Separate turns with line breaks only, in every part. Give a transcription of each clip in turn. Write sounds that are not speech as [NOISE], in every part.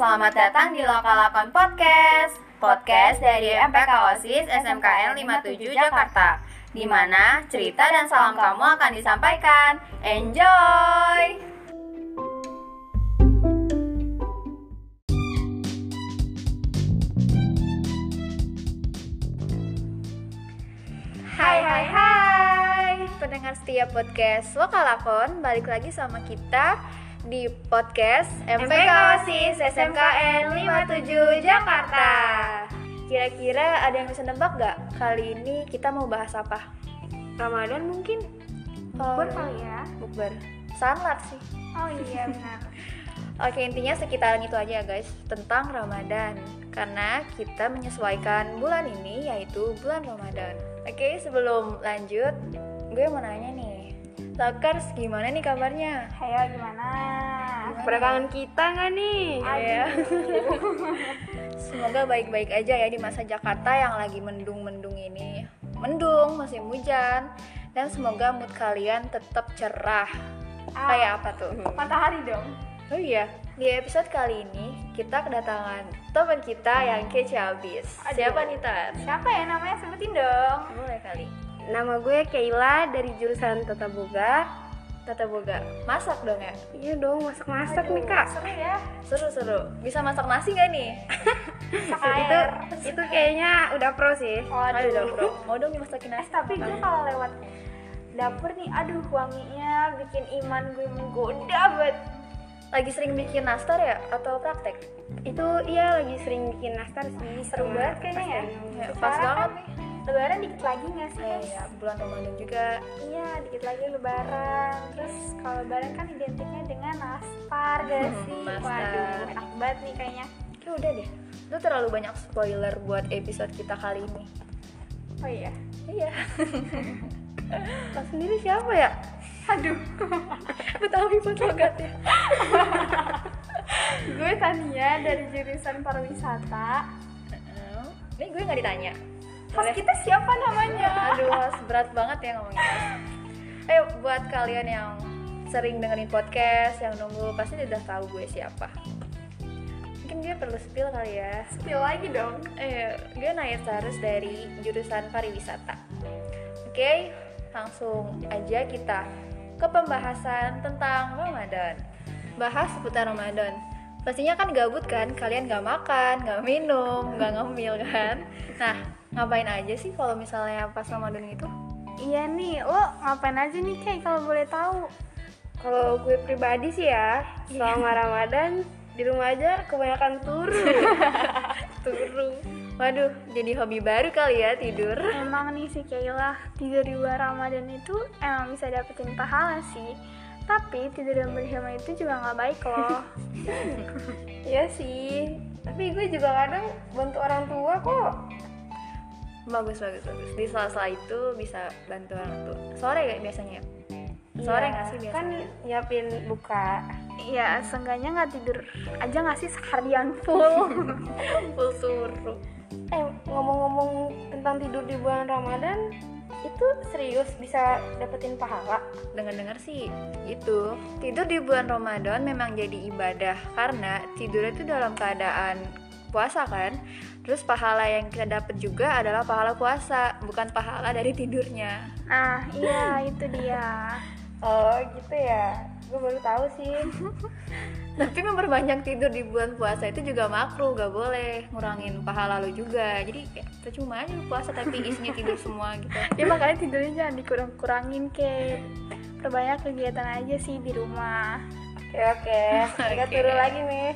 Selamat datang di Lokalakon Podcast Podcast dari MPK OSIS SMKN 57 Jakarta di mana cerita dan salam kamu akan disampaikan Enjoy!
Hai hai hai Pendengar setia podcast Lokalakon Balik lagi sama kita di podcast MPK OSIS SMKN 57 Jakarta Kira-kira ada yang bisa nebak gak? Kali ini kita mau bahas apa?
Ramadan mungkin
Bukber
kali ya.
Bukber Sanlat sih
Oh iya [LAUGHS] benar.
Oke intinya sekitaran itu aja ya guys Tentang Ramadan Karena kita menyesuaikan bulan ini yaitu bulan Ramadan Oke sebelum lanjut Gue mau nanya nih Lakars gimana nih kabarnya?
Hayo gimana?
Pada kangen
kita nggak nih?
Iya. [LAUGHS] Semoga baik-baik aja ya di masa Jakarta yang lagi mendung-mendung ini. Mendung, musim hujan, dan semoga mood kalian tetap cerah. Kayak apa tuh?
Iya. Matahari dong.
Oh iya, di episode kali ini kita kedatangan teman kita yang kece abis.
Aduh.
Siapa nih Tat?
Siapa ya namanya? Sebutin dong.
Boleh kali.
Nama gue Keila dari jurusan Tata Boga.
Tata Boga, masak dong ya?
Iya dong, masak-masak
Aduh,
nih kak. Seru ya.
Seru-seru. Bisa masak nasi nggak nih?
itu itu kayaknya udah pro sih.
Aduh, dong, bro. Mau dong dimasakin nasi?
Eh, Tapi gue kalau lewat dapur nih, aduh wanginya bikin iman gue menggoda banget.
Lagi sering bikin nastar ya? Atau praktek?
itu iya lagi sering bikin nastar sih seru
Sama
banget kayaknya ya
Ya, pas banget nih.
lebaran dikit lagi nggak sih
Eh,
guys?
ya, bulan Ramadan juga.
iya dikit lagi lebaran terus kalau lebaran kan identiknya dengan nastar gak
Hmm,
sih
nastar.
waduh enak banget nih kayaknya
Kayak Ya udah deh. Lu terlalu banyak spoiler buat episode kita kali ini.
oh iya
Iya. Pas sendiri siapa ya?
aduh [LAUGHS]
Betawi Patogat ya.
gue Tania dari jurusan pariwisata
Eh, Ini gue nggak ditanya.
pas kita siapa namanya
Aduh, Mas, berat banget ya ngomongnya. Ayo buat kalian yang sering dengerin podcast, yang nunggu pasti udah tahu gue siapa. Mungkin gue perlu spill kali ya.
spill lagi dong
Eh, gue Naya Sarus dari jurusan pariwisata. Oke, langsung aja kita ke pembahasan tentang Ramadan. Bahas seputar Ramadan. Pastinya kan gabut kan, kalian gak makan, gak minum, gak ngemil kan. Nah, ngapain aja sih kalau misalnya pas Ramadan itu?
iya nih lo ngapain aja nih kayak kalau boleh tahu
Kalau gue pribadi sih ya, selama
Iya.
Ramadan di rumah aja kebanyakan
[LAUGHS]
turun.
Turun. Waduh, jadi hobi baru kali ya tidur.
Emang nih si Kayla, tidur di luar Ramadan itu emang bisa dapetin pahala sih. Tapi tidur yang berhemat itu juga nggak baik loh.
Iya sih, tapi gue juga kadang bantu orang tua kok.
Bagus, bagus, bagus. Di sela-sela itu bisa bantu orang tua. Sore kayak biasanya. ya? Sore nggak sih biasanya?
Kan nyiapin buka.
ya, seenggaknya nggak tidur aja nggak sih seharian full. [LAUGHS]
full suruh
Eh, ngomong-ngomong tentang tidur di bulan Ramadan, itu serius bisa dapetin pahala.
dengar-dengar sih gitu tidur di bulan Ramadan memang jadi ibadah karena tidurnya itu dalam keadaan puasa kan terus pahala yang kita dapat juga adalah pahala puasa bukan pahala dari tidurnya
nah, iya itu dia.
Oh, gitu ya. Gue baru tahu sih.
tapi memperbanyak tidur di bulan puasa itu juga makruh gak boleh ngurangin pahala lo juga jadi kayak percuma aja lu puasa tapi isinya tidur semua gitu
Ya makanya tidurnya jangan dikurang-kurangin, Kate. Perbanyak kegiatan aja sih di rumah.
Oke, oke. Kita
Oke.
turun lagi nih.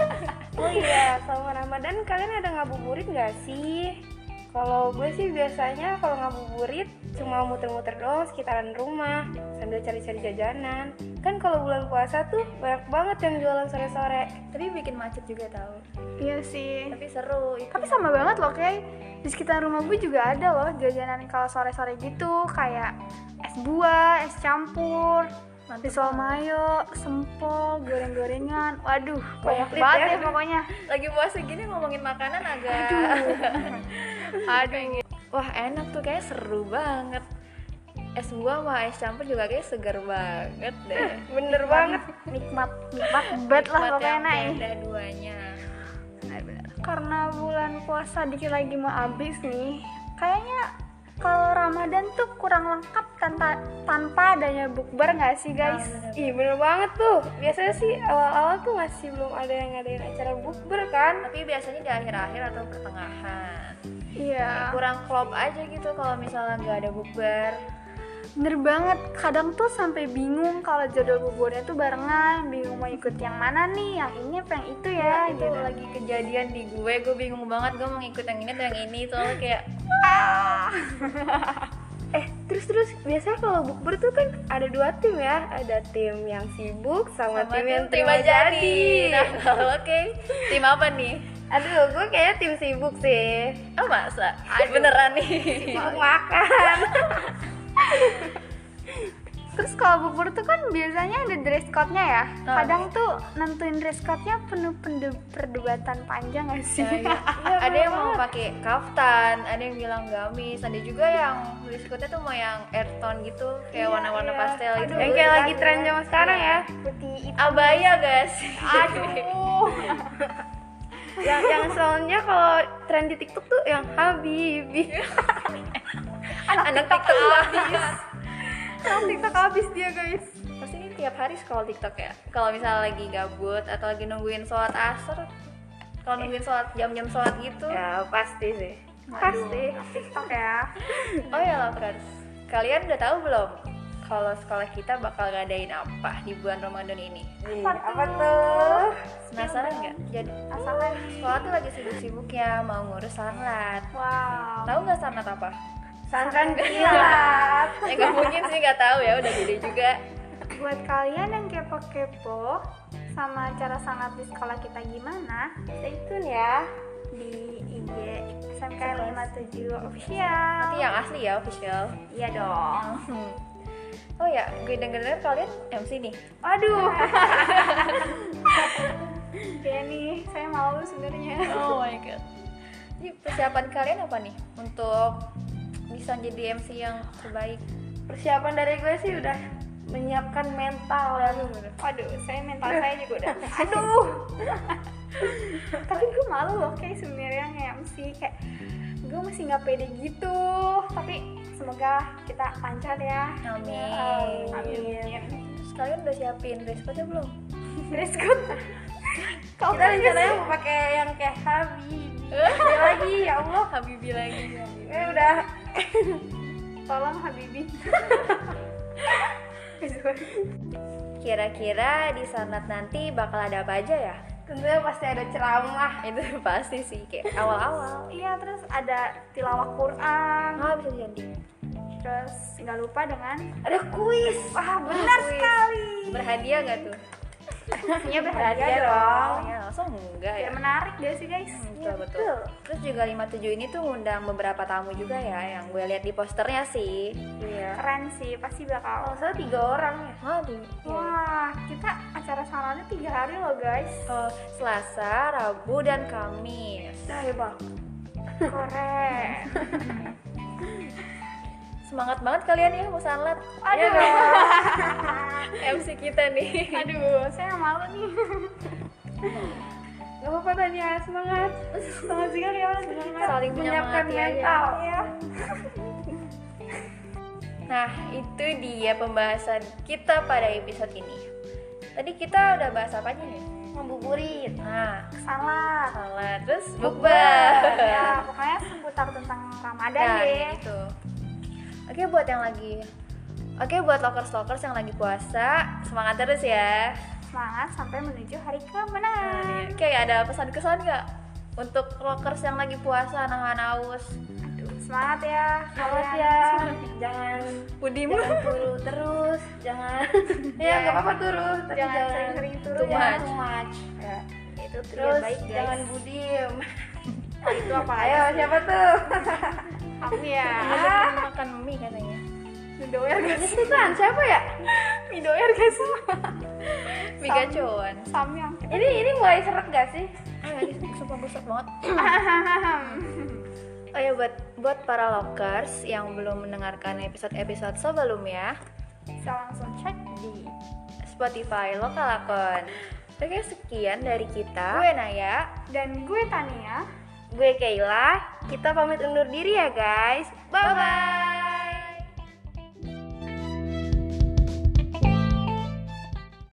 [LAUGHS] oh iya, selama Ramadan kalian ada ngabuburit nggak sih? Kalau gue sih biasanya kalau ngabuburit cuma muter-muter doang sekitaran rumah sambil cari-cari jajanan. Kan kalau bulan puasa tuh banyak banget yang jualan sore-sore.
[LAUGHS] tapi bikin macet juga tahu
Iya sih.
tapi seru itu.
Tapi sama banget loh, Kay. Di sekitar rumah gue juga ada loh jajanan kalau sore-sore gitu, kayak es buah, es campur, risol mayo, sempol, goreng-gorengan. Waduh, banyak
Komplit
banget
ya.
ya pokoknya.
lagi puasa gini ngomongin makanan agak [LAUGHS] aduh wah enak tuh kayak seru banget es buah sama es campur juga kayak seger banget deh
Bener banget. ya,
nikmat nikmat bet lah
Nikmat
pokoknya ya.
yang
Nay.
ada duanya
karena bulan puasa dikit lagi mau habis nih kayaknya kalau Ramadan tuh kurang lengkap tanpa tanpa adanya bukber nggak sih guys
Ah,
Iya bener banget tuh. Biasanya sih awal-awal tuh masih belum ada yang ngadain acara bukber kan.
tapi biasanya di akhir-akhir atau pertengahan
iya
kurang klop aja gitu kalau misalnya nggak ada bukber
bener banget kadang tuh sampai bingung kalau jadwal buburnya tuh barengan bingung mau ikut yang mana nih yang ini apa yang itu ya
itu
gitu
lagi kejadian di gue gue bingung banget gue mau ngikut yang ini atau yang ini soalnya kayak
Eh terus-terus biasanya kalau bukber tuh kan ada dua tim ya. Ada tim yang sibuk sama, tim yang terima jadi.
nah
Nah,
[LAUGHS] kalau oke tim apa nih
Aduh, gue kayaknya tim sibuk sih.
oh masa beneran nih
Sibuk makan.
terus kalau bubur tuh kan biasanya ada dress code-nya ya
Ah.
kadang tuh nentuin dress code-nya penuh pende- perdebatan panjang nggak sih
Iya, ada yang mau pakai kaftan, ada yang bilang gamis, ada juga yang biskutnya tuh mau yang airtone gitu, kayak
[LAUGHS]
warna-warna
iya.
pastel gitu. Iya.
Yang kayak lagi tren zaman sekarang ya.
putih itu
abaya guys.
aduh
ya, yang yang soalnya kalau tren di TikTok tuh yang Habibi.
[LAUGHS] Anak TikTok habis.
TikTok habis dia guys
Pasti ini tiap hari scroll TikTok ya. Kalau misalnya lagi gabut atau lagi nungguin sholat asar, kalau nungguin sholat jam-jam sholat gitu.
Ya pasti sih.
Pasti.
TikTok ya
Oh ya lovers, kalian udah tahu belum kalau sekolah kita bakal ngadain apa di bulan Ramadan ini?
Apa, tuh?
Penasaran nggak? Jadi
asalnya
sekolah tuh lagi sibuk-sibuknya mau ngurus sanlat.
wow
Tahu nggak sanlat apa?
Santren kilat.
Ya nggak mungkin sih nggak tahu ya udah gede juga.
buat kalian yang kepo-kepo sama cara sangat di sekolah kita gimana
Stay tune ya.
di IG SMK 57 official
Tapi yang asli ya official.
iya dong
Oh ya, gue denger-denger kalian MC nih.
[LAUGHS] Aduh. Kayak nih, saya malu sebenarnya.
Oh my god. Jadi persiapan kalian apa nih untuk bisa jadi MC yang terbaik?
Persiapan dari gue sih udah menyiapkan mental ya.
Waduh, saya mental
Iya.
saya juga
[LAUGHS]
udah. Aduh. [LAUGHS] Tapi gue malu loh kayak sebenarnya nge-MC kayak gue masih nggak pede gitu. Tapi semoga kita lancar ya. eh,
Amin.
Amin.
Terus kalian udah siapin dress code belum?
Dress
[LAUGHS]
code. Kau
Kita rencananya mau pakai yang kayak ya? Habibi. Ada lagi ya Allah.
Habibi lagi.
Gue udah
[LAUGHS] tolong Habibi.
Kira-kira di sanlat nanti bakal ada apa aja ya?
[LAUGHS]
[LAUGHS]
tentunya pasti ada ceramah.
Itu pasti sih kayak awal-awal.
Iya, terus ada tilawah Quran.
Ah bisa jadi.
Terus nggak lupa dengan
Ada kuis.
wah benar
kuis.
sekali.
Berhadiah nggak tuh?
Pastinya
berhadiah
berhadiah
dong.
Iya dong. iya,
Oh, ya langsung enggak ya.
Kayak menarik gak sih guys?
Betul, betul. Terus juga 57 ini tuh ngundang beberapa tamu juga ya yang gue lihat di posternya sih.
Iya.
Keren sih, pasti bakal.
Kalau saya tiga orang ya.
Waduh. Iya.
Wah, kita acara sarannya tiga hari loh guys.
Oh, Selasa, Rabu, dan Kamis.
Dah ya bang.
Keren.
Semangat banget kalian ya mau sanlat.
Aduh,
[LAUGHS] MC kita nih.
aduh, saya malu nih.
Gak apa-apa Tania, semangat.
Semangat sekali ya orang semangat.
Saling
Menyiapkan
menyemangati aja.
mental.
Ya.
Nah, itu dia pembahasan kita pada episode ini. Tadi kita udah bahas ya? apa aja nih?
Membuburit.
Nah,
Salah.
salat terus
Ya,
bukber.
pokoknya seputar tentang Ramadan
Nah,
deh.
gitu. Oke buat yang lagi Oke buat lokers-lokers yang lagi puasa, semangat terus ya. Ah.
Semangat sampai menuju hari kemenangan.
Oke, Nah, iya. ada pesan-kesan nggak untuk lokers yang lagi puasa nahan haus?
Semangat ya.
Awas
kalian.
ya, jangan
Budimu
turu terus, jangan ya nggak apa-apa turu, tapi
Jangan sering-sering turu
Too
ya.
much.
Ya.
Itu tuh yang
Terus
baik guys.
jangan budim.
itu apa
Ayo siapa tuh?
Aku ya.
makan mie katanya.
Midoyer guys.
Ini kan siapa ya?
Midoyer guys.
Mie gacuan.
Samyang.
Ini ini mulai seret gak sih?
Ah, ini sumpah busuk banget.
Ahem.
Oke, [COUGHS] Oh ya buat buat para lockers yang belum mendengarkan episode-episode sebelumnya,
Bisa langsung cek di
Spotify Lokalakon. Oke, sekian dari kita. Gue Naya.
dan gue Tania.
Gue Kayla, kita pamit undur diri ya guys.
Bye-bye.